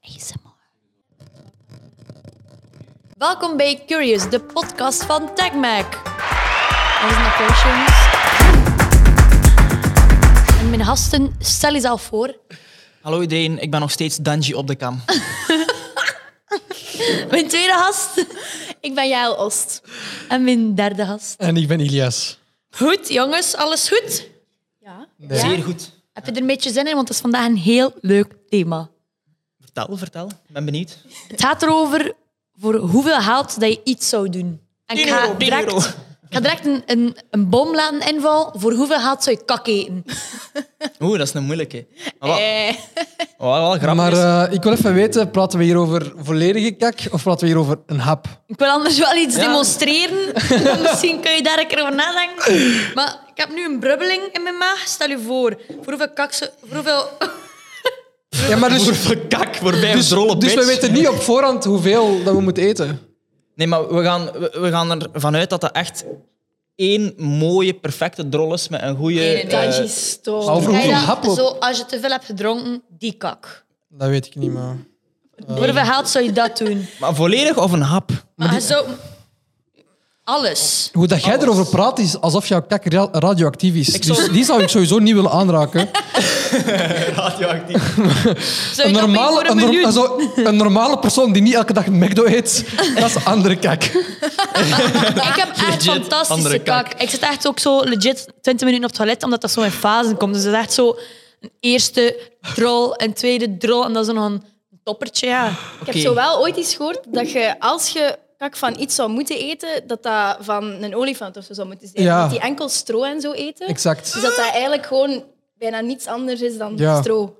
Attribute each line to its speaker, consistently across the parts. Speaker 1: ASMR. Welkom bij Curious, de podcast van TechMac. Dat is mijn applausje, jongens. En mijn gasten, stel jezelf voor.
Speaker 2: Hallo iedereen, ik ben nog steeds Danji op de kam.
Speaker 1: Mijn tweede gast
Speaker 3: Ik ben Jael Ost.
Speaker 1: en mijn derde gast.
Speaker 4: En ik ben Ilias.
Speaker 1: Goed, jongens, alles goed?
Speaker 3: Ja.
Speaker 2: Zeer goed.
Speaker 1: Heb je er een beetje zin in? Want het is vandaag een heel leuk thema.
Speaker 2: Vertel, vertel. Ik ben benieuwd.
Speaker 1: Het gaat erover voor hoeveel geld dat je iets zou doen. En
Speaker 2: 10 euro, 10
Speaker 1: direct,
Speaker 2: euro.
Speaker 1: ik ga direct een, een, een bom laten invallen. Voor hoeveel geld zou je kak eten?
Speaker 2: Oeh, dat is een moeilijke. Maar wat,
Speaker 3: Eh,
Speaker 2: wat wel grappig
Speaker 4: Maar
Speaker 2: is-
Speaker 4: eh, ik wil even weten, praten we hier over volledige kak of praten we hier over een hap?
Speaker 1: Ik wil anders wel iets
Speaker 2: Ja.
Speaker 1: demonstreren. Misschien kun je daar een keer over nadenken. Maar ik heb nu een brubbeling in mijn maag. Stel je voor, voor hoeveel kak zou- Voor hoeveel...
Speaker 4: Eh, Ja, maar dus,
Speaker 2: Voor kak, voorbij dus, rollen
Speaker 4: dus we weten niet op voorhand hoeveel dat we moeten eten.
Speaker 2: Nee, maar we gaan, we, we gaan ervan uit dat dat echt één mooie, perfecte drol is met een goede...
Speaker 1: nee, nee.
Speaker 3: dat
Speaker 2: eh,
Speaker 3: is stom.
Speaker 4: Maar over
Speaker 1: Ga je
Speaker 4: hoeveel
Speaker 1: dat
Speaker 4: hap op?
Speaker 1: zo, als je te veel hebt gedronken, die kak.
Speaker 4: Dat weet ik niet, maar... Oh.
Speaker 1: Voor hoeveel geld zou je dat doen?
Speaker 2: maar volledig of een hap?
Speaker 1: Maar je zou... Alles.
Speaker 4: Hoe dat jij erover praat is alsof jouw kak ra- radioactief is.
Speaker 2: zou-
Speaker 4: Dus die zou ik sradioactief. sowieso niet willen aanraken.
Speaker 2: Radioactief.
Speaker 1: Zou
Speaker 4: Een,
Speaker 1: je dat doen voor
Speaker 4: normale,
Speaker 1: een
Speaker 4: een, norm-
Speaker 1: minuut?
Speaker 4: zo- een normale persoon die niet elke dag McDo eet, dat is andere kak.
Speaker 1: Ik heb echt
Speaker 2: Legit
Speaker 1: fantastische
Speaker 2: andere
Speaker 1: kak.
Speaker 2: kak.
Speaker 1: Ik zit echt ook zo legit 20 minuten op het toilet, omdat dat zo in fasen komt. Dus dat is echt zo een eerste drol, een tweede drol en dan zo nog een toppertje. Ja.
Speaker 3: Ik
Speaker 2: Oké.
Speaker 3: heb zo wel ooit eens gehoord dat je als je kak van iets zou moeten eten, dat dat van een olifant of zo zou moeten zijn.
Speaker 4: Ja.
Speaker 3: Dat die enkel stro en zo eten.
Speaker 4: Exact.
Speaker 3: Dus dat dat eigenlijk gewoon bijna niets anders is dan
Speaker 4: Ja.
Speaker 3: stro.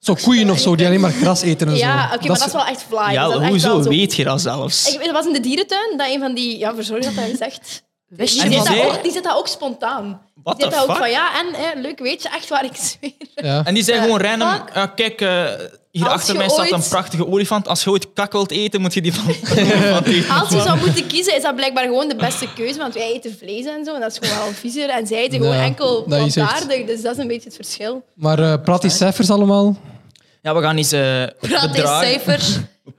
Speaker 4: Zo koeien of zo, die alleen maar gras eten en zo.
Speaker 3: Ja, oké, maar dat is wel echt vlaai.
Speaker 2: Ja,
Speaker 3: Dat is echt
Speaker 2: hoezo
Speaker 3: wel zo.
Speaker 2: weet je dat zelfs?
Speaker 3: Ik weet, dat was in de dierentuin dat een van die... Ja, verzorg dat hij zegt.
Speaker 1: Wist
Speaker 3: Die
Speaker 2: En die
Speaker 3: zit,
Speaker 1: wat?
Speaker 3: dat
Speaker 2: zei-
Speaker 3: ook, die zit dat ook spontaan.
Speaker 2: What
Speaker 3: Die zit
Speaker 2: the
Speaker 3: dat ook
Speaker 2: fuck?
Speaker 3: van, ja, en hè, leuk, weet je, echt waar ik zweer.
Speaker 4: Ja.
Speaker 2: En die zijn
Speaker 3: Ja,
Speaker 2: gewoon random.
Speaker 3: Eh, fuck.
Speaker 2: ja, kijk, eh, hier
Speaker 3: Als
Speaker 2: achter
Speaker 3: je
Speaker 2: mij staat
Speaker 3: ooit-
Speaker 2: een prachtige olifant. Als je ooit kak wilt eten, moet je die van van eten.
Speaker 3: Als je zou moeten kiezen, is dat blijkbaar gewoon de beste keuze. Want wij eten vlees en zo, en dat is gewoon wel viezer. En zij eten gewoon
Speaker 4: Ja,
Speaker 3: enkel
Speaker 4: dat is echt-
Speaker 3: plantaardig, dus dat is een beetje het verschil.
Speaker 4: Maar eh, praat die cijfers allemaal.
Speaker 2: Ja, we gaan eens eh
Speaker 1: Praat in
Speaker 2: bedragen.
Speaker 1: cijfers.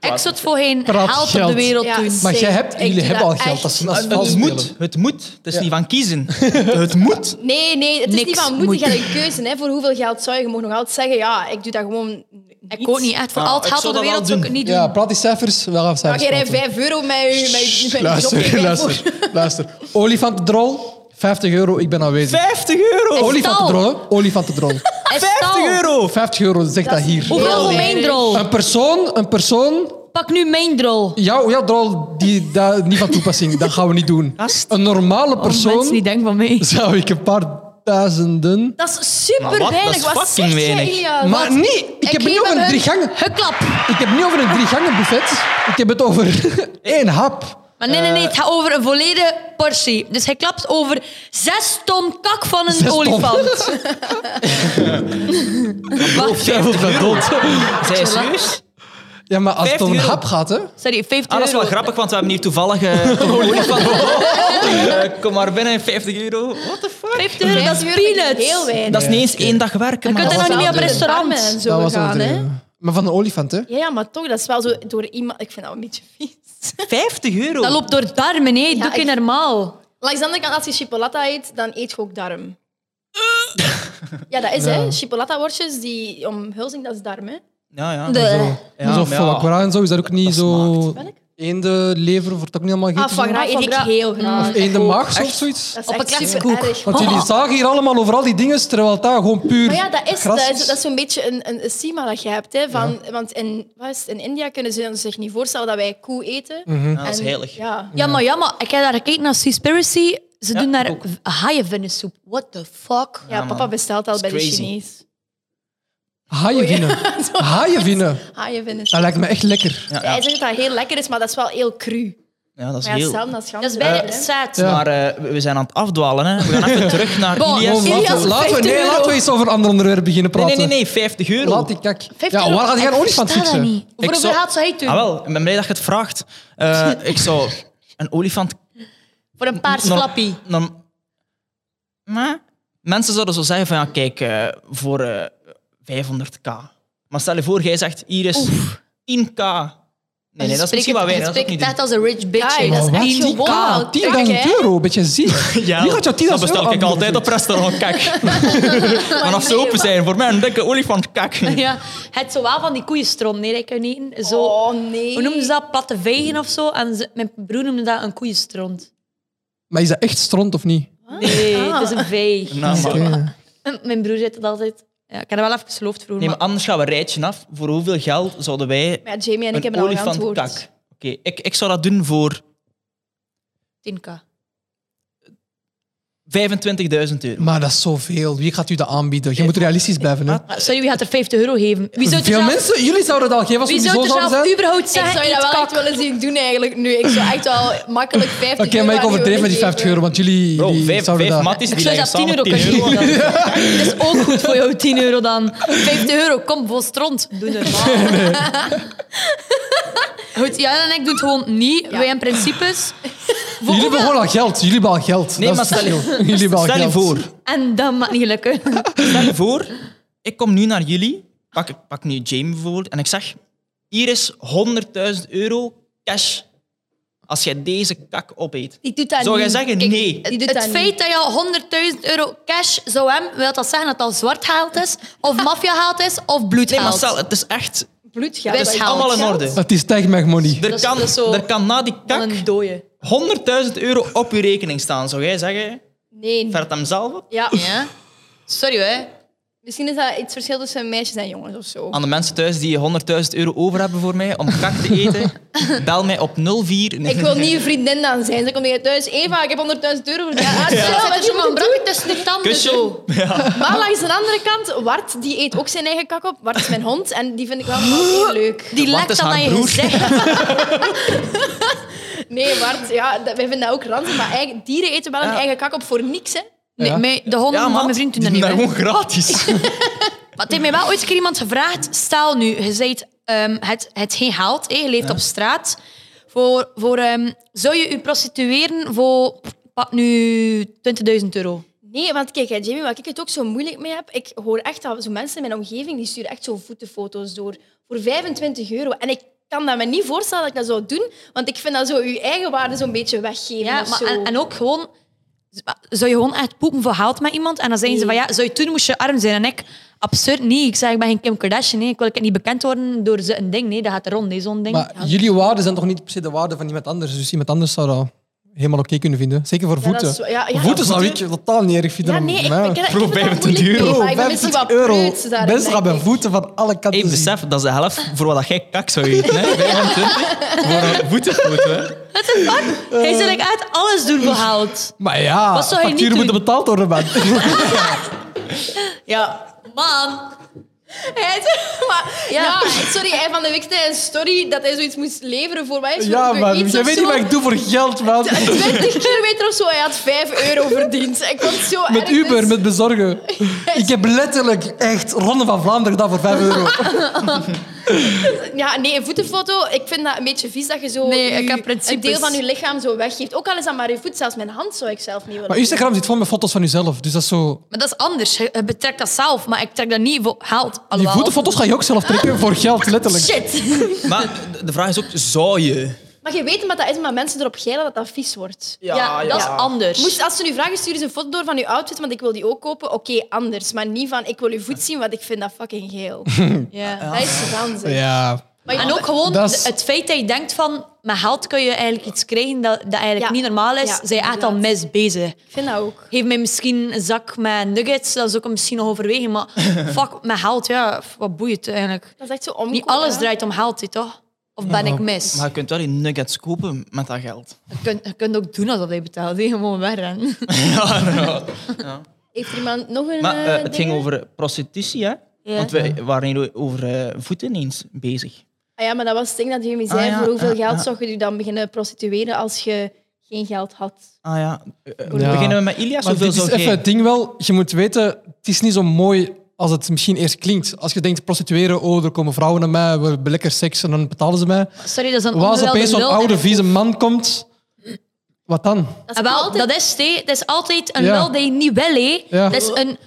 Speaker 1: Ik zou het voor geen
Speaker 4: Praat
Speaker 1: geld op de
Speaker 4: geld.
Speaker 1: wereld
Speaker 3: Ja,
Speaker 1: doen.
Speaker 4: Maar
Speaker 3: Zee,
Speaker 4: jij hebt,
Speaker 3: ik
Speaker 4: jullie
Speaker 3: doe
Speaker 4: hebben al
Speaker 3: dat
Speaker 4: geld.
Speaker 3: echt.
Speaker 4: Dat is, dat
Speaker 2: Ah,
Speaker 4: is
Speaker 2: Het,
Speaker 4: vals
Speaker 2: moet,
Speaker 4: spelen.
Speaker 2: het moet. Het is niet van kiezen. het moet.
Speaker 3: Nee, nee, het is
Speaker 1: Niks
Speaker 3: niet van moeten. Je
Speaker 1: moet.
Speaker 3: hebt een keuze hè, voor hoeveel geld zou je. Je mag nog altijd zeggen, ja, ik doe dat gewoon
Speaker 1: Ik ook niet echt. Voor al het
Speaker 2: Ah,
Speaker 1: geld
Speaker 2: ik zou
Speaker 1: op de
Speaker 2: dat wel
Speaker 1: wereld zou ik het
Speaker 2: doen.
Speaker 1: niet doen.
Speaker 4: Ja, praat die cijfers. Wel af
Speaker 3: Maar
Speaker 4: cijfers.
Speaker 3: jij rijdt
Speaker 4: praten.
Speaker 3: 5 euro met je, met je, met je job, je
Speaker 4: Luister,
Speaker 3: rijdt
Speaker 4: luister, luister. Olifantendrol, 50 euro, ik ben aanwezig.
Speaker 2: 50 euro!
Speaker 4: Olifantendrol, hè? Olifantendrol.
Speaker 1: Een
Speaker 2: 50
Speaker 1: stal.
Speaker 2: euro!
Speaker 4: 50 euro, zeg dat hier.
Speaker 1: Hoeveel
Speaker 3: Heel
Speaker 1: voor mijn
Speaker 3: weinig.
Speaker 1: drol?
Speaker 4: Een persoon, een persoon,
Speaker 1: Pak nu mijn drol.
Speaker 4: jouw jouw drol, die, dat, niet van toepassing, dat gaan we niet doen.
Speaker 2: Gast.
Speaker 4: Een normale
Speaker 1: Oh, Mensen die
Speaker 4: persoon
Speaker 1: denken van mij.
Speaker 4: zou ik een paar duizenden...
Speaker 3: Dat is super
Speaker 2: Maar wat?
Speaker 3: weinig.
Speaker 2: Dat is
Speaker 3: Wat
Speaker 2: fucking
Speaker 3: zeg jij,
Speaker 2: weinig.
Speaker 3: Ilias?
Speaker 4: Maar
Speaker 3: Wat?
Speaker 4: nee, ik heb het niet
Speaker 3: geef
Speaker 4: over
Speaker 3: hem
Speaker 4: een drie
Speaker 3: hun-
Speaker 4: gangen.
Speaker 1: Huklap.
Speaker 4: Ik heb het niet over een drie gangen buffet. Ik heb het over één hap.
Speaker 1: Maar nee, nee, nee,
Speaker 4: Eh.
Speaker 1: het gaat over een volledige portie. Dus hij klapt over zes ton kak van een
Speaker 4: ton.
Speaker 1: olifant. Wacht,
Speaker 4: Ja, dat dood.
Speaker 2: Zij is serieus?
Speaker 4: Ja, maar als het om
Speaker 2: 50
Speaker 4: een
Speaker 2: euro.
Speaker 4: hap gaat, hè?
Speaker 1: sorry, 50
Speaker 2: Ah, dat is wel
Speaker 1: euro.
Speaker 2: grappig, want we hebben hier toevallig eh, een olifant. Eh, Kom maar binnen, 50 euro. What the fuck?
Speaker 1: 50 euro, dat is
Speaker 3: 50 euro vind ik
Speaker 1: peanuts.
Speaker 3: Heel weinig.
Speaker 2: Dat is niet eens één dag werken,
Speaker 1: kunt
Speaker 2: man.
Speaker 1: er nog niet
Speaker 3: Zelfs
Speaker 1: op
Speaker 3: door de
Speaker 1: restaurant.
Speaker 3: darmen en
Speaker 4: dat
Speaker 3: zo
Speaker 4: was
Speaker 3: gaan, hè?
Speaker 4: overdreven. Maar van een olifant, hè?
Speaker 3: Ja, ja, maar toch, dat is wel zo door iemand... Ik vind dat een beetje vies.
Speaker 2: 50 euro?
Speaker 1: Dat loopt door darmen, nee. Doe
Speaker 3: Ja,
Speaker 1: ik
Speaker 3: ik-
Speaker 1: normaal.
Speaker 3: Langs de andere kant, als je chipolata eet, dan eet je ook darm. ja, dat is hè. Chipolata-worstjes, die omhulzing, dat is darm hè.
Speaker 2: Ja, ja.
Speaker 1: De...
Speaker 2: Ja,
Speaker 4: zo
Speaker 2: maar
Speaker 4: foie
Speaker 2: ja.
Speaker 4: gras en zo, is dat ook niet
Speaker 2: dat
Speaker 4: zo...
Speaker 2: smaakt.
Speaker 3: Welk?
Speaker 4: Eendenlever wordt ook niet helemaal
Speaker 3: Ah,
Speaker 4: gegeten.
Speaker 3: foie gras eet ik heel graag.
Speaker 4: Eén de maag of
Speaker 2: echt.
Speaker 4: zoiets.
Speaker 3: Dat is
Speaker 1: Op een
Speaker 3: echt
Speaker 1: klassieke
Speaker 3: super
Speaker 1: koek.
Speaker 3: erg.
Speaker 4: Want jullie zagen hier allemaal over al die dingen, terwijl dat gewoon puur
Speaker 3: Maar ja, dat is,
Speaker 4: gras
Speaker 3: dat is, dat is zo'n beetje een, een, een stigma dat je hebt. Hè, van, Want in, wat is het, in India kunnen ze zich niet voorstellen dat wij koe eten.
Speaker 2: Mhm. Ja, dat is
Speaker 3: En-
Speaker 2: heilig.
Speaker 3: Ja.
Speaker 1: Ja, maar ja, maar ik heb daar gekeken naar Seaspiracy. Ze doen daar haaienvennesoep. What the fuck?
Speaker 3: Ja,
Speaker 2: Ja, man.
Speaker 3: papa bestelt al
Speaker 2: Dat
Speaker 3: bij
Speaker 2: is
Speaker 3: de
Speaker 2: crazy.
Speaker 3: Chinees.
Speaker 4: Haaienvinnen. Haaienvinnen.
Speaker 1: Ah,
Speaker 3: Haaien vinden
Speaker 4: Dat lijkt me echt lekker.
Speaker 2: Ja,
Speaker 3: Hij
Speaker 2: ja.
Speaker 3: zegt dat het heel lekker is, maar dat is wel heel cru.
Speaker 2: Ja, dat is
Speaker 3: Maar ja,
Speaker 2: heel...
Speaker 3: hetzelfde als
Speaker 1: Dat is
Speaker 3: ganzen.
Speaker 1: bijna
Speaker 3: hè.
Speaker 1: set.
Speaker 4: Ja.
Speaker 2: Maar eh, we- we zijn aan het afdwalen, hè. We gaan even terug naar
Speaker 1: Bon,
Speaker 2: Ilias.
Speaker 1: bon,
Speaker 4: Oh, Laten we-
Speaker 1: Ilias,
Speaker 4: laten we,
Speaker 1: 50
Speaker 4: nee,
Speaker 1: euro.
Speaker 4: laten we eens over een ander onderwerp beginnen
Speaker 2: Nee,
Speaker 4: praten.
Speaker 2: nee, nee, nee, 50 euro.
Speaker 4: eh? Laat die kak.
Speaker 3: 50
Speaker 4: Ja, waar gaat jij een
Speaker 1: Ik
Speaker 4: olifant
Speaker 1: versta dat
Speaker 4: fixen?
Speaker 1: niet. Voor hoeveel
Speaker 2: zou-
Speaker 1: geld zou hij het doen?
Speaker 2: Ah, wel, ik ben blij dat je het vraagt. Eh, ik zou een olifant...
Speaker 1: Voor een paars
Speaker 2: norm-
Speaker 1: flappie.
Speaker 2: norm- maar mensen zouden zo zeggen van, ja, kijk, eh, voor eh, 500k Maar stel je voor, jij zegt, hier is 10k. Nee, nee, dat is misschien wat weinig. Dat is ook
Speaker 1: spreekt
Speaker 2: niet
Speaker 1: het echt als een rich bitch.
Speaker 3: Ja,
Speaker 1: hè.
Speaker 4: Oh,
Speaker 3: dat is
Speaker 1: Maar
Speaker 3: echt
Speaker 1: wat?
Speaker 3: gewoon- Wow,
Speaker 4: 10.000
Speaker 3: kijk, hè.
Speaker 4: euro, beetje ziek.
Speaker 2: doen. ja,
Speaker 4: Wie gaat jou 10.000 euro
Speaker 2: dat bestel ik
Speaker 4: aanbieden?
Speaker 2: altijd op restaurant, kak. Vanaf ze open zijn, voor mij een dikke olifant, kak.
Speaker 1: Ja, het zo wel van die koeienstron, nee, dat kan je niet. eten. Zo,
Speaker 3: Oh nee.
Speaker 1: Hoe noemden ze dat? Platte vegen of zo? En ze- mijn broer noemde dat een koeienstront.
Speaker 4: Maar is dat echt stront of niet?
Speaker 1: Nee, het is een veeg.
Speaker 2: Nou, maar-
Speaker 4: Oké.
Speaker 1: Ah. Mijn broer zei dat altijd. Ja, ik heb dat wel even geloofd vroeger.
Speaker 2: Nee, maar
Speaker 1: maar-
Speaker 2: anders gaan we een rijtje af. Voor hoeveel geld zouden wij
Speaker 3: Maar ja, Jamie en ik
Speaker 2: een
Speaker 3: hebben al
Speaker 2: olifant,
Speaker 3: geantwoord.
Speaker 2: kak? Oké, ik, ik zou dat doen voor
Speaker 1: 10k.
Speaker 2: 25.000 euro.
Speaker 4: Maar dat is zoveel. Wie gaat u dat aanbieden? Je moet realistisch blijven. Hè?
Speaker 1: Maar Sorry, wie gaat er 50 euro geven? Wie zou het er
Speaker 4: Veel
Speaker 1: zelf-
Speaker 4: mensen, jullie zouden dat al geven als
Speaker 1: Wie
Speaker 4: jullie
Speaker 1: zou
Speaker 4: zo
Speaker 1: het er
Speaker 4: zouden
Speaker 1: zelf
Speaker 4: zijn.
Speaker 1: überhaupt
Speaker 3: Ik
Speaker 1: zeggen?
Speaker 3: zou je dat
Speaker 1: Eet
Speaker 3: wel
Speaker 1: kak.
Speaker 3: echt willen zien doen eigenlijk nu. Ik zou echt wel makkelijk 50
Speaker 4: Oké, maar ik
Speaker 3: euro aan u
Speaker 4: overdreef met die
Speaker 3: willen
Speaker 4: 50 euro,
Speaker 3: geven.
Speaker 4: want jullie,
Speaker 2: Bro,
Speaker 4: jullie
Speaker 2: vijf,
Speaker 4: zouden
Speaker 2: vijf
Speaker 4: dat...
Speaker 2: matties
Speaker 1: Ik
Speaker 2: die
Speaker 1: zou
Speaker 2: leggen
Speaker 1: dat 10
Speaker 2: samen
Speaker 1: euro
Speaker 2: 10
Speaker 1: kunnen
Speaker 2: euro.
Speaker 1: geven. Dat is ook goed voor jou, 10 euro dan. 50 euro, kom, vol stront. Doe normaal. Goed, Jan en ik doen het gewoon niet. Wij hebben principes. Voor
Speaker 4: Jullie hebben
Speaker 1: hoeveel-
Speaker 4: gewoon al geld. Jullie hebben al geld.
Speaker 2: Nee,
Speaker 4: dat is
Speaker 2: maar
Speaker 4: het
Speaker 2: stel je-
Speaker 4: verschil. Jullie hebben al
Speaker 2: Stel je
Speaker 4: geld.
Speaker 2: voor,
Speaker 1: En dat mag niet lukken.
Speaker 2: Stel je voor, ik kom nu naar jullie, pak, pak nu Jamie bijvoorbeeld, en ik zeg, hier is 100.000 euro cash als jij deze kak opeet.
Speaker 3: Die doet dat
Speaker 2: Zou jij
Speaker 3: niet.
Speaker 2: zeggen
Speaker 3: Kijk,
Speaker 2: nee?
Speaker 3: Die doet
Speaker 1: het
Speaker 3: dat
Speaker 1: feit
Speaker 3: niet.
Speaker 1: dat je al 100.000 euro cash zou hebben, wil dat zeggen dat dat zwart geld is, of maffia geld is, of
Speaker 2: Nee, maar
Speaker 1: bloedgeld.
Speaker 2: stel, het is echt,
Speaker 3: Bloedgeld.
Speaker 1: Het
Speaker 2: het is
Speaker 1: Geld.
Speaker 2: allemaal in orde.
Speaker 4: Het is tag mag money.
Speaker 2: Er
Speaker 1: Dat is-
Speaker 2: kan,
Speaker 1: dat is zo-
Speaker 2: er kan na die kak
Speaker 1: Van een dode.
Speaker 2: 100.000 euro op je rekening staan. Zou jij zeggen,
Speaker 3: Nee.
Speaker 2: vert hem zelf op?
Speaker 3: Ja.
Speaker 1: Ja? Sorry hè.
Speaker 3: Misschien is dat iets verschil tussen meisjes en jongens of zo.
Speaker 2: Aan de mensen thuis die 100.000 euro over hebben voor mij om kak te eten, bel mij op 04. Nee.
Speaker 3: Ik wil niet je vriendin dan zijn. Dan kom je thuis. Eva, ik heb 100.000 euro voor ja. Ah,
Speaker 1: Ja.
Speaker 3: zo,
Speaker 1: Zet
Speaker 3: wat
Speaker 1: er zo
Speaker 3: je
Speaker 1: maar een
Speaker 3: moet
Speaker 1: brak tussen de tanden
Speaker 2: Kusje.
Speaker 1: zo.
Speaker 3: doen. Maar langs de andere kant, Wart, die eet ook zijn eigen kak op. Wart is mijn hond en die vind ik wel heel leuk.
Speaker 1: Die
Speaker 2: Bart
Speaker 1: lekt
Speaker 2: is
Speaker 1: dan
Speaker 2: haar
Speaker 1: aan je
Speaker 2: broer.
Speaker 1: gezicht.
Speaker 3: Nee, Wart, ja, dat- wij vinden dat ook ranzig. Maar eigen, dieren eten wel hun eigen kak op voor niks, hè.
Speaker 1: Nee,
Speaker 4: Ja.
Speaker 1: mij- de honden
Speaker 2: maar
Speaker 1: van Oh, mijn vriend doen dat
Speaker 2: die
Speaker 1: niet. hè.
Speaker 2: doen dat gewoon gratis.
Speaker 1: Maar het heeft mij wel ooit een keer iemand gevraagd. Stel nu, je zegt ehm, het, het geen geld, hè, je leeft op straat. Voor, voor, ehm, zou je je prostitueren voor pak nu 20.000 euro?
Speaker 3: Nee, want kijk, hè, Jamie, waar ik het ook zo moeilijk mee heb, ik hoor echt dat zo mensen in mijn omgeving die sturen echt zo voetenfoto's door voor 25 euro. En ik kan dat me niet voorstellen dat ik dat zou doen, want ik vind dat zo je eigen waarde zo'n beetje weggeven.
Speaker 1: Ja,
Speaker 3: of
Speaker 1: maar
Speaker 3: zo.
Speaker 1: en, en ook gewoon... Zou je gewoon echt poepen voor geld met iemand? En dan zeggen ze
Speaker 3: Nee.
Speaker 1: van ja, zou je toen moest je arm zijn? En ik, absurd, nee. Ik zeg, ik ben geen Kim Kardashian. Nee. Ik wil niet bekend worden door zo'n ding. Nee, dat gaat er rond, hè, zo'n ding.
Speaker 4: Maar jullie waarden zijn toch niet per se de waarden van iemand anders? Dus iemand anders zou dat helemaal oké kunnen vinden. Zeker voor
Speaker 3: Ja, dat
Speaker 4: voeten.
Speaker 3: is- ja, ja.
Speaker 4: voeten zou ik totaal niet erg vinden.
Speaker 3: ja,
Speaker 4: om-
Speaker 3: nee, ik, ik,
Speaker 4: maar ja.
Speaker 3: ik, ik heb
Speaker 2: Bro,
Speaker 3: het wel
Speaker 2: 25
Speaker 3: moeilijk mee,
Speaker 4: Bro,
Speaker 3: maar ik ben misschien wat
Speaker 4: 25 euro.
Speaker 3: preuts daarin,
Speaker 4: Mensen gaan
Speaker 3: denk
Speaker 4: bij
Speaker 3: ik.
Speaker 4: voeten van alle kanten
Speaker 2: Ik
Speaker 4: zien.
Speaker 2: besef, dat is de helft voor wat jij kak zou eten. Hè? 25 voor een voetenfoto. hè.
Speaker 1: Hij zou like, echt alles doen voor geld.
Speaker 4: Maar ja,
Speaker 1: Wat zou je niet
Speaker 4: facturen moeten
Speaker 1: doen?
Speaker 4: betaald worden, man.
Speaker 3: Ja.
Speaker 1: Man,
Speaker 3: Hij is- maar- ja.
Speaker 1: Ja.
Speaker 3: sorry, hij van de week zei een story dat hij zoiets moest leveren voor mij.
Speaker 4: ja, man. Jij weet niet wat ik doe voor geld, man.
Speaker 3: 20 kilometer of zo, hij had 5 euro verdiend. Ik vond het zo
Speaker 4: Met
Speaker 3: erg,
Speaker 4: Uber,
Speaker 3: dus-
Speaker 4: met bezorgen. Ik heb letterlijk echt Ronde van Vlaanderen gedaan voor 5 euro.
Speaker 3: Ja, nee, een voetenfoto, ik vind dat een beetje vies dat je zo
Speaker 1: Nee, ik
Speaker 3: je-
Speaker 1: heb
Speaker 3: een
Speaker 1: principes.
Speaker 3: deel van je lichaam zo weggeeft. Ook al is dat maar je voet, zelfs mijn hand zou ik zelf niet willen.
Speaker 4: Maar Instagram zit vol met foto's van jezelf. Dus dat is zo...
Speaker 1: maar dat is anders. Je je betrekt dat zelf, maar ik trek dat niet voor geld.
Speaker 4: Die
Speaker 1: Alhoewel.
Speaker 4: voetenfoto's ga je ook zelf trekken voor geld, letterlijk.
Speaker 1: Shit.
Speaker 2: Maar de- de vraag is ook, zou je?
Speaker 3: Maar je weet wat dat is, maar mensen erop geilen dat dat vies wordt.
Speaker 1: Ja, dat is anders.
Speaker 3: Moest, als ze nu vragen, stuur eens een foto door van je outfit, want ik wil die ook kopen. Oké, anders. Maar niet van, ik wil je voet zien, want ik vind dat fucking geel.
Speaker 1: Ja.
Speaker 3: Dat is ranzig.
Speaker 4: Ja.
Speaker 3: Maar je-
Speaker 1: En ook gewoon
Speaker 4: Dat is-
Speaker 1: de- het feit dat je denkt van met geld kun je eigenlijk iets krijgen dat, dat eigenlijk
Speaker 3: Ja.
Speaker 1: niet normaal is,
Speaker 3: Ja,
Speaker 1: zijn je echt al
Speaker 3: inderdaad.
Speaker 1: mis bezig.
Speaker 3: Ik vind dat ook.
Speaker 1: Geef mij misschien een zak met nuggets, dat is ook misschien nog overwegen, maar fuck, met geld, ja, wat boeit eigenlijk.
Speaker 3: Dat is echt zo omkopen.
Speaker 1: Niet alles
Speaker 3: hè.
Speaker 1: draait om geld, hè, toch? Of ben ik mis?
Speaker 2: Maar je kunt wel je nuggets kopen met dat geld.
Speaker 1: Je, kunt, je kunt ook doen alsof je betaalt, hè, gewoon wegrennen.
Speaker 2: Ja, nou.
Speaker 3: Heeft er iemand nog een...
Speaker 2: Maar
Speaker 3: eh,
Speaker 2: eh, het
Speaker 3: ding?
Speaker 2: ging over prostitutie, hè?
Speaker 1: Ja.
Speaker 2: Want we waren hier over eh, voeten eens bezig.
Speaker 3: Ah ja, maar dat was het ding dat jullie zei.
Speaker 2: Ah ja,
Speaker 3: voor hoeveel
Speaker 2: ah,
Speaker 3: geld
Speaker 2: ah.
Speaker 3: zou je je dan beginnen prostitueren als je geen geld had?
Speaker 2: Ah ja. Eh, eh,
Speaker 4: Ja.
Speaker 2: Beginnen we met Ilias?
Speaker 4: Maar
Speaker 2: Hoeveel
Speaker 4: dit is
Speaker 2: zou
Speaker 4: even
Speaker 2: jij...
Speaker 4: het ding wel. Je moet weten, het is niet zo mooi als het misschien eerst klinkt. Als je denkt, prostitueren, oh, er komen vrouwen naar mij, we hebben lekker seks en dan betalen ze mij.
Speaker 1: Sorry, dat is een
Speaker 4: Waar als
Speaker 1: onwilde
Speaker 4: opeens zo'n
Speaker 1: lul. Eh,
Speaker 4: oude, vieze man komt, wat dan?
Speaker 3: Dat
Speaker 1: Ah, wel, dat is, het, hè. het is altijd een
Speaker 4: Ja.
Speaker 1: lul die je niet wil, hè.
Speaker 4: Ja.
Speaker 1: Dat is een...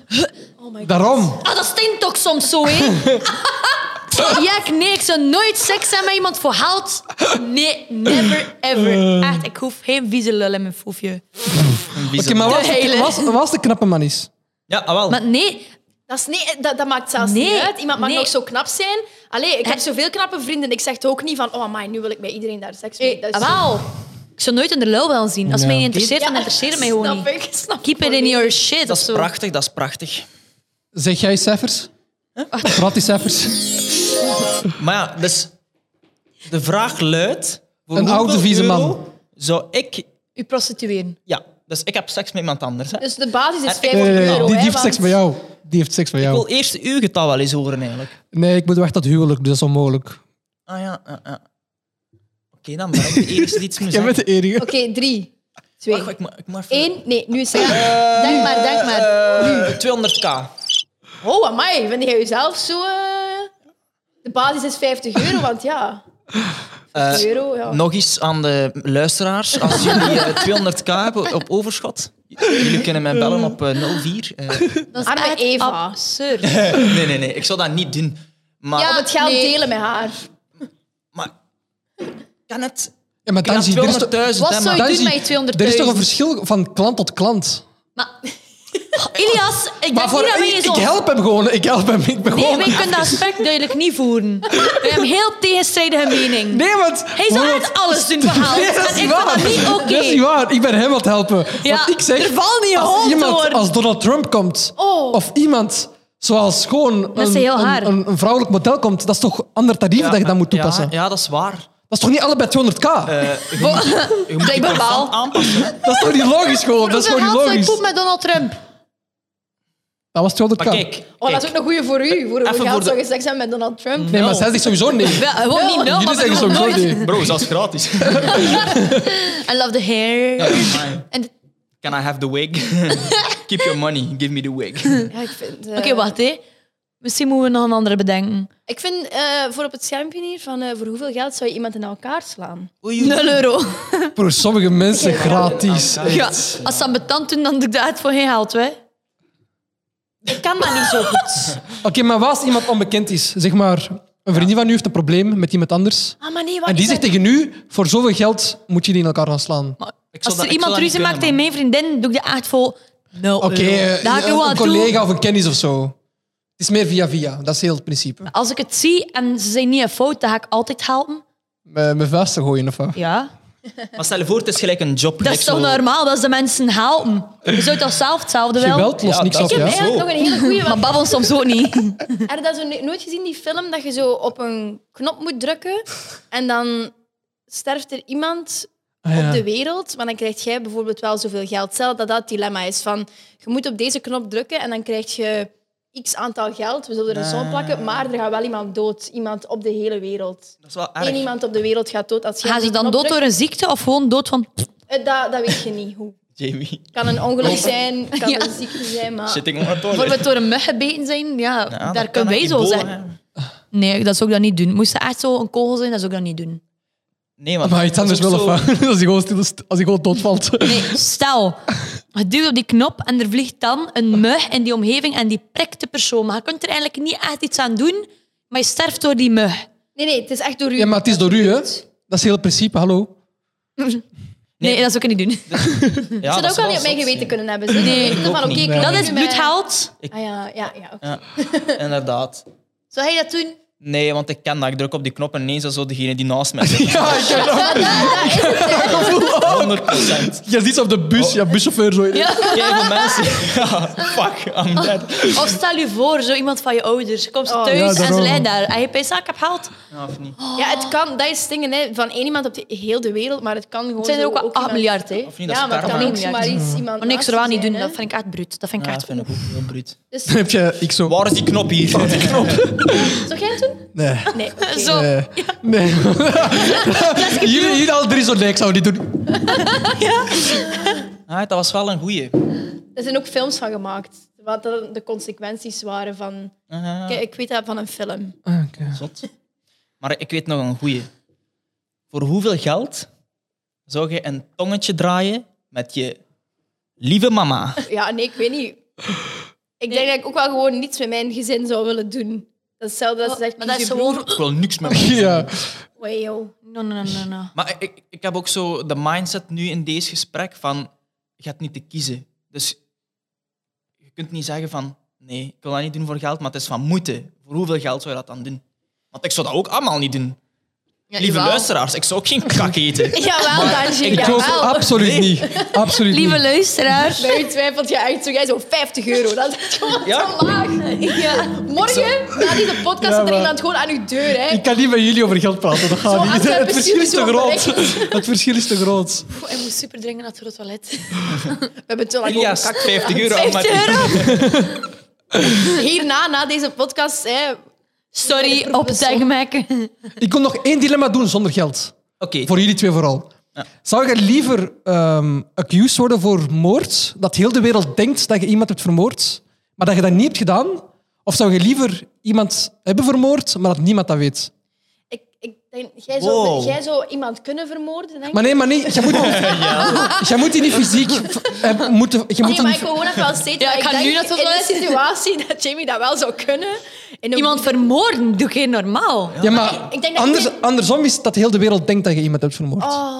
Speaker 3: Oh my God.
Speaker 4: Daarom.
Speaker 1: Ah, dat stinkt toch soms zo, hè. Ja, ik- nee, ik zou nooit seks hebben met iemand voor geld. Nee, never
Speaker 4: Eh.
Speaker 1: ever. Echt, ik hoef geen vieze lul in mijn foefje.
Speaker 4: Oké, maar was,
Speaker 1: De hele-
Speaker 4: was, was de knappe man is?
Speaker 2: Ja, ah, wel.
Speaker 1: Maar nee,
Speaker 3: Dat, is niet, eh, dat, dat maakt zelfs
Speaker 1: Nee,
Speaker 3: niet uit. Iemand mag
Speaker 1: nee.
Speaker 3: nog zo knap zijn. Allee, ik heb
Speaker 1: Eh.
Speaker 3: zoveel knappe vrienden. Ik zeg het ook niet van, oh man, nu wil ik bij iedereen daar seks mee.
Speaker 1: eh, wel. Ik zou nooit in de lul wel zien. Als
Speaker 4: Ja.
Speaker 1: mij niet interesseert, dan
Speaker 3: Ja,
Speaker 1: interesseert het mij gewoon
Speaker 3: snap
Speaker 1: niet.
Speaker 3: Ik, snap ik
Speaker 1: Keep it in
Speaker 3: volledig.
Speaker 1: your shit
Speaker 2: dat
Speaker 1: of
Speaker 2: is
Speaker 1: zo.
Speaker 2: prachtig, dat is prachtig.
Speaker 4: Zeg jij cijfers? Praat die cijfers.
Speaker 2: Maar ja, dus de vraag luidt... voor
Speaker 4: Een oude
Speaker 2: hoeveel
Speaker 4: vieze man.
Speaker 2: euro Zou ik...
Speaker 1: U prostitueren.
Speaker 2: Ja, dus ik heb seks met iemand anders. Hè.
Speaker 3: Dus de basis is
Speaker 2: Eh,
Speaker 3: 500
Speaker 4: Nee, nee, nee,
Speaker 3: euro.
Speaker 4: die
Speaker 3: hè,
Speaker 4: heeft
Speaker 3: want-
Speaker 4: seks met jou. Die heeft seks met
Speaker 2: Ik wil
Speaker 4: jou.
Speaker 2: eerst uw getal wel eens horen, eigenlijk.
Speaker 4: Nee, ik moet weg dat huwelijk, dus dat is onmogelijk.
Speaker 2: Ah ja, ja, ja. Oké, dan mag ik de eerste iets moeten
Speaker 4: Jij bent
Speaker 2: zeggen.
Speaker 4: de enige.
Speaker 3: Oké, drie, twee,
Speaker 2: Wacht, ik moet- ik moet even-
Speaker 3: één. Nee, nu is het... Denk maar, denk maar.
Speaker 2: Eh, 200k.
Speaker 3: Oh, amai, vind jij jezelf zo... eh, De basis is 50 euro, want ja... 50 euro, ja.
Speaker 2: Eh, Nog iets aan de luisteraars. Als jullie eh, 200k hebben op overschot, jullie kunnen mij bellen op eh, 04. eh.
Speaker 1: Dat is
Speaker 3: Arme
Speaker 1: echt
Speaker 3: Eva.
Speaker 1: absurd.
Speaker 2: nee, nee, nee. Ik zou dat niet doen. Maar,
Speaker 3: Op het geld
Speaker 1: nee.
Speaker 3: delen met haar. Oh,
Speaker 2: maar kan het?
Speaker 4: Ja, maar
Speaker 2: Ik had
Speaker 4: Tansi,
Speaker 2: 200.000.
Speaker 4: er is toch-
Speaker 1: Wat
Speaker 2: hè,
Speaker 1: zou
Speaker 2: maar-
Speaker 1: je
Speaker 4: Tansi,
Speaker 1: doen met
Speaker 4: Er is toch
Speaker 1: 200.000?
Speaker 4: een verschil van klant tot klant?
Speaker 1: Maar, Ilias, ik denk
Speaker 4: Maar voor,
Speaker 1: niet dat wij
Speaker 4: ik,
Speaker 1: eens
Speaker 4: ik
Speaker 1: ons-
Speaker 4: help hem gewoon. Ik help hem. Ik ben
Speaker 1: Nee,
Speaker 4: gewoon...
Speaker 1: wij kunnen dat aspect duidelijk niet voeren. We hebben een heel tegenstrijdige mening.
Speaker 4: Nee, want...
Speaker 1: Hij zou
Speaker 4: want-
Speaker 1: echt alles doen voor geld.
Speaker 4: Nee, dat is
Speaker 1: en ik
Speaker 4: waar.
Speaker 1: vind dat niet oké.
Speaker 4: Dat is niet waar. Ik ben hem aan het helpen.
Speaker 1: Ja,
Speaker 4: Want ik zeg...
Speaker 1: er valt niet
Speaker 4: als
Speaker 1: geholpen
Speaker 4: iemand
Speaker 1: worden.
Speaker 4: als Donald Trump komt,
Speaker 3: Oh.
Speaker 4: of iemand zoals gewoon
Speaker 1: is
Speaker 4: een,
Speaker 1: heel haar.
Speaker 4: een, een, een vrouwelijk model komt, dat is toch ander tarief dat je dan moet toepassen?
Speaker 2: Ja, ja, dat is waar.
Speaker 4: Dat is toch niet allebei 200k?
Speaker 2: Eh, je moet, je moet je
Speaker 1: Blijkbaar
Speaker 2: constant
Speaker 1: wel.
Speaker 2: aanpassen. hè.
Speaker 4: Dat is toch niet logisch gewoon? Dat is
Speaker 1: Hoeveel
Speaker 4: gewoon niet
Speaker 1: geld zou je poep
Speaker 4: logisch.
Speaker 1: met Donald Trump?
Speaker 4: Dat was 200k.
Speaker 2: Maar kijk,
Speaker 3: Oh, dat is ook
Speaker 2: kijk.
Speaker 3: een goede voor u. Voor
Speaker 2: Even
Speaker 3: hoeveel
Speaker 2: voor
Speaker 3: geld
Speaker 2: de- Mm.
Speaker 3: zou je seks hebben met Donald Trump?
Speaker 4: Nee, maar
Speaker 2: nul.
Speaker 4: zij zegt sowieso nee.
Speaker 1: Ja, gewoon niet nul,
Speaker 4: Jullie
Speaker 1: maar
Speaker 4: zeggen
Speaker 1: we doen
Speaker 4: sowieso
Speaker 1: het nooit.
Speaker 4: nee.
Speaker 2: Bro, dat is gratis.
Speaker 1: I love the hair.
Speaker 2: Ja, fine.
Speaker 1: En-
Speaker 2: Can I have the wig? Keep your money, give me the wig.
Speaker 3: Ja, ik vind... eh,
Speaker 1: Oké, wacht hé. Misschien moeten we nog een andere bedenken.
Speaker 3: Ik vind eh, voor op het schermpje hier van eh, voor hoeveel geld zou je iemand in elkaar slaan?
Speaker 1: 0 euro.
Speaker 4: Voor sommige mensen gratis.
Speaker 2: Ja.
Speaker 1: Ja,
Speaker 4: Echt.
Speaker 1: als ze aan betaald doen, dan doe ik dat uit voor geen geld, hè.
Speaker 3: Ik kan dat niet zo goed.
Speaker 4: Oké, maar wat als iemand onbekend is? Zeg maar, een vriendin van u heeft een probleem met iemand anders.
Speaker 3: Ah, maar nee, wacht.
Speaker 4: En die
Speaker 3: ik
Speaker 4: zegt
Speaker 3: ben-
Speaker 4: tegen u, voor zoveel geld moet je die in elkaar gaan slaan.
Speaker 2: Ik zou
Speaker 1: Als
Speaker 2: dat-
Speaker 1: er
Speaker 2: ik zou
Speaker 1: iemand
Speaker 2: dat niet
Speaker 1: ruzie maakt tegen
Speaker 2: kunnen,
Speaker 1: mijn vriendin, doe ik dat echt voor 0
Speaker 4: Oké, eh,
Speaker 1: euro. Dat ga ik
Speaker 4: een,
Speaker 1: gewoon
Speaker 4: een
Speaker 1: doen.
Speaker 4: collega of een kennis of zo. Het is meer via via, dat is heel het principe.
Speaker 1: Als ik het zie en ze zijn niet een fout, dan ga ik altijd helpen.
Speaker 4: Met eh, Mijn vuisten gooien of wat?
Speaker 1: Ja.
Speaker 2: man. Maar stel je voor, het is gelijk een job.
Speaker 1: Dat is toch normaal dat ze mensen helpen? Je zou toch zelf hetzelfde willen?
Speaker 4: Geweld lost
Speaker 2: Ja,
Speaker 4: niks
Speaker 2: dat
Speaker 4: op,
Speaker 2: is-
Speaker 4: ja?
Speaker 2: Ja,
Speaker 3: Eigenlijk
Speaker 2: Zo.
Speaker 3: nog een hele goede.
Speaker 1: Maar babbel soms ook niet.
Speaker 3: Heb je dat zo no- nooit gezien, die film, dat je zo op een knop moet drukken en dan sterft er iemand
Speaker 4: Ah, ja.
Speaker 3: op de wereld, maar dan krijg jij bijvoorbeeld wel zoveel geld. Stel dat dat het dilemma is van je moet op deze knop drukken en dan krijg je x aantal geld, we zullen er een som plakken, maar er gaat wel iemand dood. Iemand op de hele wereld.
Speaker 2: Dat is wel
Speaker 3: Eén
Speaker 2: erg.
Speaker 3: iemand op de wereld gaat dood. Als jij
Speaker 1: Gaan
Speaker 3: op
Speaker 1: ze
Speaker 3: die
Speaker 1: dan
Speaker 3: knop
Speaker 1: dood door
Speaker 3: drukt.
Speaker 1: een ziekte of gewoon dood van...
Speaker 3: Eh, Dat, dat weet je niet hoe.
Speaker 2: Jamie,
Speaker 3: kan een
Speaker 4: Oh.
Speaker 3: ongeluk zijn, kan
Speaker 1: Ja.
Speaker 3: een ziekte zijn, maar...
Speaker 2: zit ik op het toilet?
Speaker 1: Bijvoorbeeld door een mug gebeten zijn, ja,
Speaker 2: Ja,
Speaker 1: daar
Speaker 2: dat kan
Speaker 1: kunnen wij
Speaker 2: ook
Speaker 1: zo
Speaker 2: Ebola,
Speaker 1: zeggen.
Speaker 2: hè.
Speaker 1: Nee, dat zou ik dat niet doen. Moest er echt zo een kogel zijn, dat zou ik dat niet doen.
Speaker 2: Nee, want
Speaker 4: Maar iets
Speaker 2: dat is
Speaker 4: anders wel of
Speaker 2: ook zo-
Speaker 4: wat? Als hij gewoon, stil- als hij gewoon doodvalt.
Speaker 1: Nee, stel, je duwt op die knop en er vliegt dan een mug in die omgeving en die prikt de persoon. Maar je kunt er eigenlijk niet echt iets aan doen, maar je sterft door die mug.
Speaker 3: Nee, nee, het is echt door u.
Speaker 4: Ja, maar het is door u, hè? Dat is heel het principe, hallo.
Speaker 1: Nee, dat zou ik niet doen.
Speaker 2: Ja,
Speaker 3: Ze dat
Speaker 2: Ah, is
Speaker 3: ook al
Speaker 2: wel
Speaker 3: niet op mijn
Speaker 2: zot,
Speaker 3: geweten
Speaker 2: ja.
Speaker 3: kunnen hebben. Ze weten
Speaker 2: ook
Speaker 3: van, oké,
Speaker 2: niet.
Speaker 3: ik
Speaker 4: Nee.
Speaker 3: kan
Speaker 1: Dat
Speaker 3: nu
Speaker 1: is
Speaker 3: mijn-
Speaker 1: bloedheld.
Speaker 3: Ah ja, ja, ja. oké.
Speaker 2: Inderdaad.
Speaker 1: Zou hij dat doen?
Speaker 2: Nee, want ik ken dat. Ik druk op die knop en ineens is zo degene die naast mij zit.
Speaker 4: Ja, ik heb dat.
Speaker 2: Ja. 100%.
Speaker 4: Je ziet ze op de bus, Oh. ja, buschauffeur zo.
Speaker 2: Kijk, voor mensen. Ja, fuck, I'm dead.
Speaker 1: Of stel je voor, zo iemand van je ouders. Komt ze
Speaker 3: Oh.
Speaker 4: Ja,
Speaker 1: thuis en ze
Speaker 4: daarom.
Speaker 1: lijdt daar. En je pensaat, ik heb geld.
Speaker 2: Ja, of niet?
Speaker 3: Ja, het kan, dat is dingen hè, van één iemand op de, heel de wereld, maar het kan gewoon.
Speaker 1: Het zijn er
Speaker 3: zo
Speaker 1: ook wel 8
Speaker 3: iemand-
Speaker 1: miljard, hè.
Speaker 2: Of niet, dat
Speaker 3: Ja,
Speaker 2: is
Speaker 3: maar het
Speaker 2: karma.
Speaker 3: kan ook
Speaker 1: Ja.
Speaker 3: zomaar iets iemand.
Speaker 1: Maar niks
Speaker 3: naast
Speaker 1: er aan
Speaker 3: je
Speaker 1: niet doen,
Speaker 3: zijn,
Speaker 1: dat
Speaker 3: hè.
Speaker 1: vind ik echt bruut. Dat vind ik
Speaker 2: Ja,
Speaker 1: echt...
Speaker 2: dat vind ik ook heel bruut.
Speaker 3: Dus,
Speaker 4: Dan heb je, ik zo...
Speaker 2: Waar is die knop hier?
Speaker 3: zou jij het doen?
Speaker 4: Nee.
Speaker 3: Nee. oké.
Speaker 1: Zo.
Speaker 4: Nee. nee. jullie, jullie al drie zo nee, ik zou die doen.
Speaker 2: Ah, dat was wel een goeie.
Speaker 3: Er zijn ook films van gemaakt, wat de de consequenties waren van.
Speaker 2: Ah,
Speaker 3: Kijk, ik weet dat van een film.
Speaker 4: Ah,
Speaker 2: zot. Maar ik weet nog een goeie. Voor hoeveel geld zou je een tongetje draaien met je lieve mama?
Speaker 3: Ja, nee, ik weet niet. Ik denk dat ik ook wel gewoon niets met mijn gezin zou willen doen. Dat is hetzelfde als ze zegt,
Speaker 1: Oh, maar dat is
Speaker 3: kies je broer.
Speaker 1: gewoon...
Speaker 2: Ik wil niks meer.
Speaker 4: Ja.
Speaker 3: Wee, yo.
Speaker 1: No, no, no, no, no.
Speaker 2: Maar ik, ik heb ook zo de mindset nu in deze gesprek van je hebt niet te kiezen. Dus je kunt niet zeggen van nee, ik wil dat niet doen voor geld, maar het is van moeite. Voor hoeveel geld zou je dat dan doen? Want ik zou dat ook allemaal niet doen.
Speaker 1: Ja,
Speaker 2: Lieve
Speaker 1: jawel.
Speaker 2: luisteraars, ik zou ook geen kak eten.
Speaker 3: Jawel, Danji.
Speaker 4: Ik Ah. geloof
Speaker 3: jawel.
Speaker 4: absoluut
Speaker 2: Nee.
Speaker 4: niet. Absoluut
Speaker 1: Lieve
Speaker 4: niet.
Speaker 1: luisteraars.
Speaker 3: Bij u twijfelt je echt zo, jij zo 50 euro. Dat is gewoon
Speaker 2: Ja.
Speaker 3: te laag. Morgen, na deze podcast, zit er
Speaker 4: maar-
Speaker 3: iemand gewoon aan uw deur. Hè.
Speaker 4: Ik kan niet met jullie over geld praten, dat
Speaker 3: Zo
Speaker 4: gaat niet.
Speaker 3: Antwerpen
Speaker 4: Het verschil is te
Speaker 3: stuurt zo'n
Speaker 4: groot. Het verschil is te groot.
Speaker 1: Pff, Ik moest super dringen naar het toilet.
Speaker 3: We hebben te lang
Speaker 2: Ilias,
Speaker 3: over
Speaker 2: 50 euro. maar-
Speaker 1: 50 euro?
Speaker 3: kak- Hierna, na deze podcast, hè,
Speaker 1: Sorry, opzeggen maken.
Speaker 4: Ik kon nog één dilemma doen zonder geld.
Speaker 2: Oké,
Speaker 4: Voor jullie twee vooral.
Speaker 2: Ja.
Speaker 4: Zou je liever ehm accused worden voor moord? Dat heel de wereld denkt dat je iemand hebt vermoord, maar dat je dat niet hebt gedaan? Of zou je liever iemand hebben vermoord, maar dat niemand dat weet?
Speaker 3: ik, ik denk, jij,
Speaker 2: Wow.
Speaker 3: zou, jij zou iemand kunnen vermoorden, denk ik.
Speaker 4: Maar nee, maar nee, je moet, je moet die niet fysiek... eh, Moeten, je moet die
Speaker 3: Nee, maar
Speaker 4: niet-
Speaker 3: ik wil gewoon even wel steeds...
Speaker 1: Ja,
Speaker 3: maar
Speaker 1: ik ga
Speaker 3: denk
Speaker 1: nu naar het
Speaker 3: In de
Speaker 1: toilet.
Speaker 3: situatie dat Jamie dat wel zou kunnen. In een-
Speaker 1: Iemand vermoorden, doe geen normaal.
Speaker 4: Ja, maar
Speaker 3: ik denk dat
Speaker 4: anders,
Speaker 3: ik-
Speaker 4: andersom is dat heel de wereld denkt dat je iemand hebt vermoord.
Speaker 3: Oh.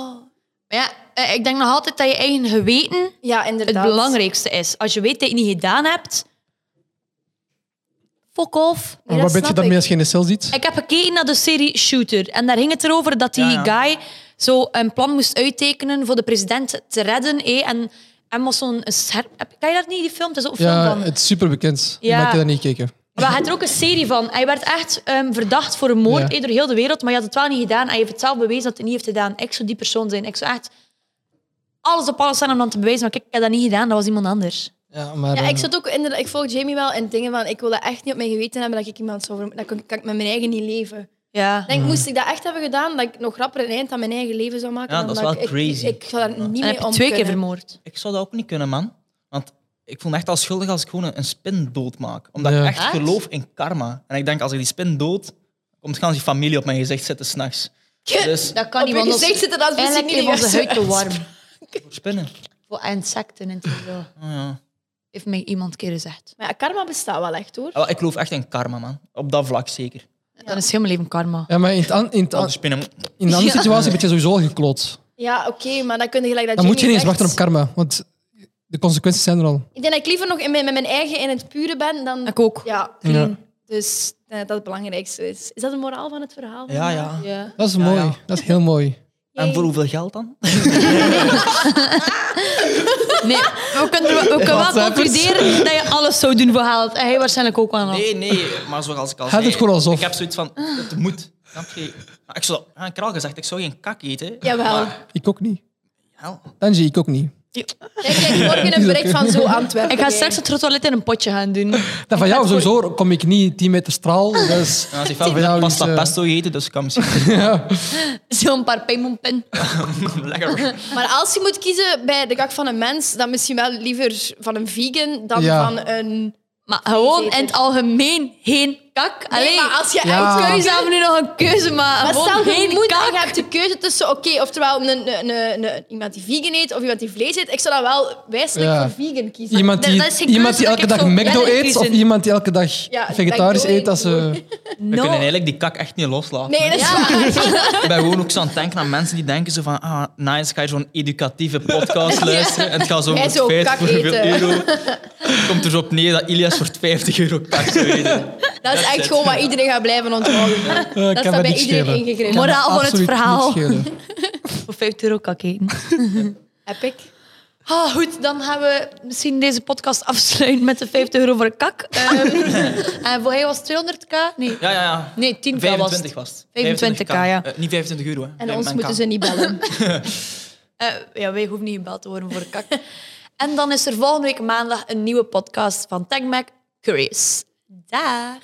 Speaker 1: Maar ja, eh, ik denk nog altijd dat je eigen geweten
Speaker 3: Ja,
Speaker 1: het
Speaker 3: inderdaad.
Speaker 1: belangrijkste is. Als je weet dat je het niet gedaan hebt, fuck off.
Speaker 4: maar
Speaker 3: Nee,
Speaker 4: wat
Speaker 3: dat
Speaker 4: ben je
Speaker 3: snap
Speaker 4: dan
Speaker 3: ik.
Speaker 4: mee als je in de cel zit?
Speaker 1: Ik heb gekeken naar de serie Shooter en daar ging het erover dat die
Speaker 2: Ja, ja.
Speaker 1: guy zo een plan moest uittekenen voor de president te redden. eh, en en moest zo'n een scherp... heb- Ken je dat niet, die film? Het is ook een film
Speaker 4: Ja,
Speaker 1: van...
Speaker 4: het is superbekend.
Speaker 1: Ja.
Speaker 4: Maar ik heb dat niet gekeken.
Speaker 1: Maar hij had er ook een serie van. Hij werd echt ehm, verdacht voor een moord
Speaker 4: Ja.
Speaker 1: eh, door heel de wereld, maar je had het wel niet gedaan. En hij heeft het zelf bewezen dat hij niet heeft gedaan. Ik zou die persoon zijn. Ik zou echt alles op alles zijn om dan te bewijzen, maar kijk, ik heb dat niet gedaan, dat was iemand anders.
Speaker 4: Ja, maar,
Speaker 3: Ja,
Speaker 4: eh,
Speaker 3: ik zat ook inderdaad... Ik volg Jamie wel in dingen van... Ik wil dat echt niet op mijn geweten hebben dat ik iemand zou vermoorden. Dan kan, kan ik met mijn eigen niet leven.
Speaker 1: Ja.
Speaker 3: Ik denk, moest ik dat echt hebben gedaan, dat ik nog rapper een eind aan mijn eigen leven zou maken.
Speaker 2: Ja,
Speaker 3: dan
Speaker 2: dat is wel
Speaker 3: ik,
Speaker 2: crazy.
Speaker 3: Ik, ik ga daar niet
Speaker 1: En
Speaker 3: mee
Speaker 1: heb je
Speaker 3: om
Speaker 1: twee keer
Speaker 3: kunnen.
Speaker 1: vermoord.
Speaker 2: ik zou dat ook niet kunnen, man. Want ik voel me echt al schuldig als ik gewoon een- een spin doodmaak. Omdat
Speaker 4: Ja.
Speaker 2: ik echt,
Speaker 1: Echt?
Speaker 2: geloof in karma. En ik denk, als ik die spin dood, komt gans die familie op mijn gezicht zitten s'nachts. Dus
Speaker 1: Dat kan
Speaker 3: Op je gezicht zitten dat misschien
Speaker 1: Eigenlijk
Speaker 3: niet
Speaker 1: heeft onze
Speaker 3: juist.
Speaker 1: huid te warm.
Speaker 2: voor spinnen.
Speaker 1: Voor insecten en zo.
Speaker 2: Oh, ja.
Speaker 1: Heeft mij iemand een keer gezegd.
Speaker 3: Maar ja, karma bestaat wel echt, hoor.
Speaker 2: Ja, wel, Ik geloof echt in karma, man. Op dat vlak zeker.
Speaker 1: Dan is heel mijn leven karma.
Speaker 4: ja, maar in, het an- in, het
Speaker 2: Al
Speaker 4: an-
Speaker 2: die spinnen.
Speaker 4: in een andere
Speaker 1: Ja.
Speaker 4: situatie ben je sowieso al gekloot.
Speaker 3: Ja, oké, maar dan kun je gelijk dat
Speaker 4: Dan moet je niet
Speaker 3: Jamie
Speaker 4: eens wachten op
Speaker 3: zegt.
Speaker 4: karma, want de consequenties zijn er al.
Speaker 3: Ik denk dat ik liever nog in mijn, met mijn eigen in het pure ben dan...
Speaker 1: Ik ook.
Speaker 3: Ja,
Speaker 4: Ja.
Speaker 3: dus eh, dat het belangrijkste is. Is dat de moraal van het verhaal?
Speaker 2: Ja, ja.
Speaker 1: Ja.
Speaker 4: Dat is
Speaker 2: Ja,
Speaker 4: mooi.
Speaker 2: ja.
Speaker 4: Dat is heel mooi.
Speaker 2: En voor hoeveel geld dan?
Speaker 1: Nee, we kunnen, we kunnen wel
Speaker 4: Whatsappers.
Speaker 1: concluderen dat je alles zou doen voor geld. En hij waarschijnlijk ook wel nog.
Speaker 2: Nee, nee, maar zoals ik al
Speaker 4: Hij
Speaker 2: zei,
Speaker 4: doet gewoon alsof.
Speaker 2: ik heb zoiets van, het moet. Snap je? Maar ik, zou, ja, ik heb al gezegd, ik zou geen kak eten.
Speaker 3: Jawel.
Speaker 2: Maar,
Speaker 4: Ik ook niet.
Speaker 2: ja,
Speaker 4: Angie, ik ook niet.
Speaker 3: Ik krijg morgen een
Speaker 4: Is
Speaker 3: bericht
Speaker 4: oké.
Speaker 3: van zo Antwerpen.
Speaker 1: Ik ga straks het toilet in een potje gaan doen.
Speaker 4: Dat Nou, van jou sowieso kom ik niet 10 meter straal. Dus
Speaker 2: en als ik
Speaker 4: Van
Speaker 2: wel
Speaker 4: jou
Speaker 2: pasta
Speaker 4: is, eh,
Speaker 2: pesto gegeten, dus ik kan misschien
Speaker 1: Zo'n paar pijmonpen.
Speaker 2: lekker...
Speaker 3: Maar als je moet kiezen bij de kak van een mens, dan misschien wel liever van een vegan dan
Speaker 4: Ja.
Speaker 3: van een...
Speaker 1: Maar gewoon in het algemeen geen kak.
Speaker 3: Nee,
Speaker 1: Allee,
Speaker 3: maar als je
Speaker 4: Ja.
Speaker 2: Ah.
Speaker 3: echt
Speaker 1: we
Speaker 3: keuze
Speaker 1: hebben nu nog een keuze, maar,
Speaker 3: Maar
Speaker 1: gewoon
Speaker 3: stel, je
Speaker 1: geen
Speaker 3: moet
Speaker 1: kak.
Speaker 3: en je hebt de keuze tussen, oké, oftewel een, een, een, een- iemand die vegan eet of iemand die vlees eet. Ik zou dan wel wijselijk
Speaker 4: Ja.
Speaker 3: voor vegan kiezen.
Speaker 4: iemand die,
Speaker 1: Dat is geen
Speaker 4: iemand
Speaker 1: keuze,
Speaker 4: die
Speaker 1: dat
Speaker 4: elke
Speaker 1: ik
Speaker 4: dag
Speaker 1: zo
Speaker 4: McDo
Speaker 1: redelijk
Speaker 4: eet of
Speaker 1: kiezen.
Speaker 4: iemand die elke dag
Speaker 3: Ja,
Speaker 4: vegetarisch
Speaker 3: McDo
Speaker 4: eet. Dat eh, ze...
Speaker 2: We
Speaker 1: No.
Speaker 2: kunnen eigenlijk die kak echt niet loslaten.
Speaker 3: Nee, dat is waar.
Speaker 2: Ik ben gewoon ook zo aan het denken aan mensen die denken zo van, ah, nice, ga je zo'n educatieve podcast luisteren en het gaat zo over
Speaker 3: Wij
Speaker 2: het
Speaker 3: zo
Speaker 2: feit
Speaker 3: kak
Speaker 2: voor hoeveel
Speaker 3: eten.
Speaker 2: euro. Komt er zo op neer dat Ilias voor 50 euro kak zou eten.
Speaker 3: Dat is echt gewoon wat iedereen gaat blijven onthouden.
Speaker 4: kan
Speaker 3: dat
Speaker 4: me
Speaker 3: staat bij
Speaker 4: niks
Speaker 3: iedereen
Speaker 4: schelen.
Speaker 3: ingegrepen.
Speaker 1: Moraal van het
Speaker 4: Absoluut niet
Speaker 1: verhaal.
Speaker 4: schelen.
Speaker 1: Voor 50 euro kak eten.
Speaker 3: Epic.
Speaker 1: Ah, goed, dan gaan we misschien deze podcast afsluiten met de 50 euro voor een kak. Ehm, en voor hij was het 200k? Nee,
Speaker 2: Ja, ja, ja.
Speaker 1: nee 10k was
Speaker 2: 25
Speaker 1: het.
Speaker 2: was het.
Speaker 1: 25k, ja.
Speaker 2: Eh, niet 25 euro, hè.
Speaker 3: En
Speaker 2: Nee,
Speaker 3: ons
Speaker 2: men
Speaker 3: moeten
Speaker 2: kan.
Speaker 3: ze niet bellen.
Speaker 1: Eh, ja, wij hoeven niet gebeld te worden voor een kak. en dan is er volgende week maandag een nieuwe podcast van TagMac Curious. Dag.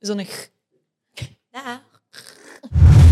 Speaker 1: Zonnig. Dag.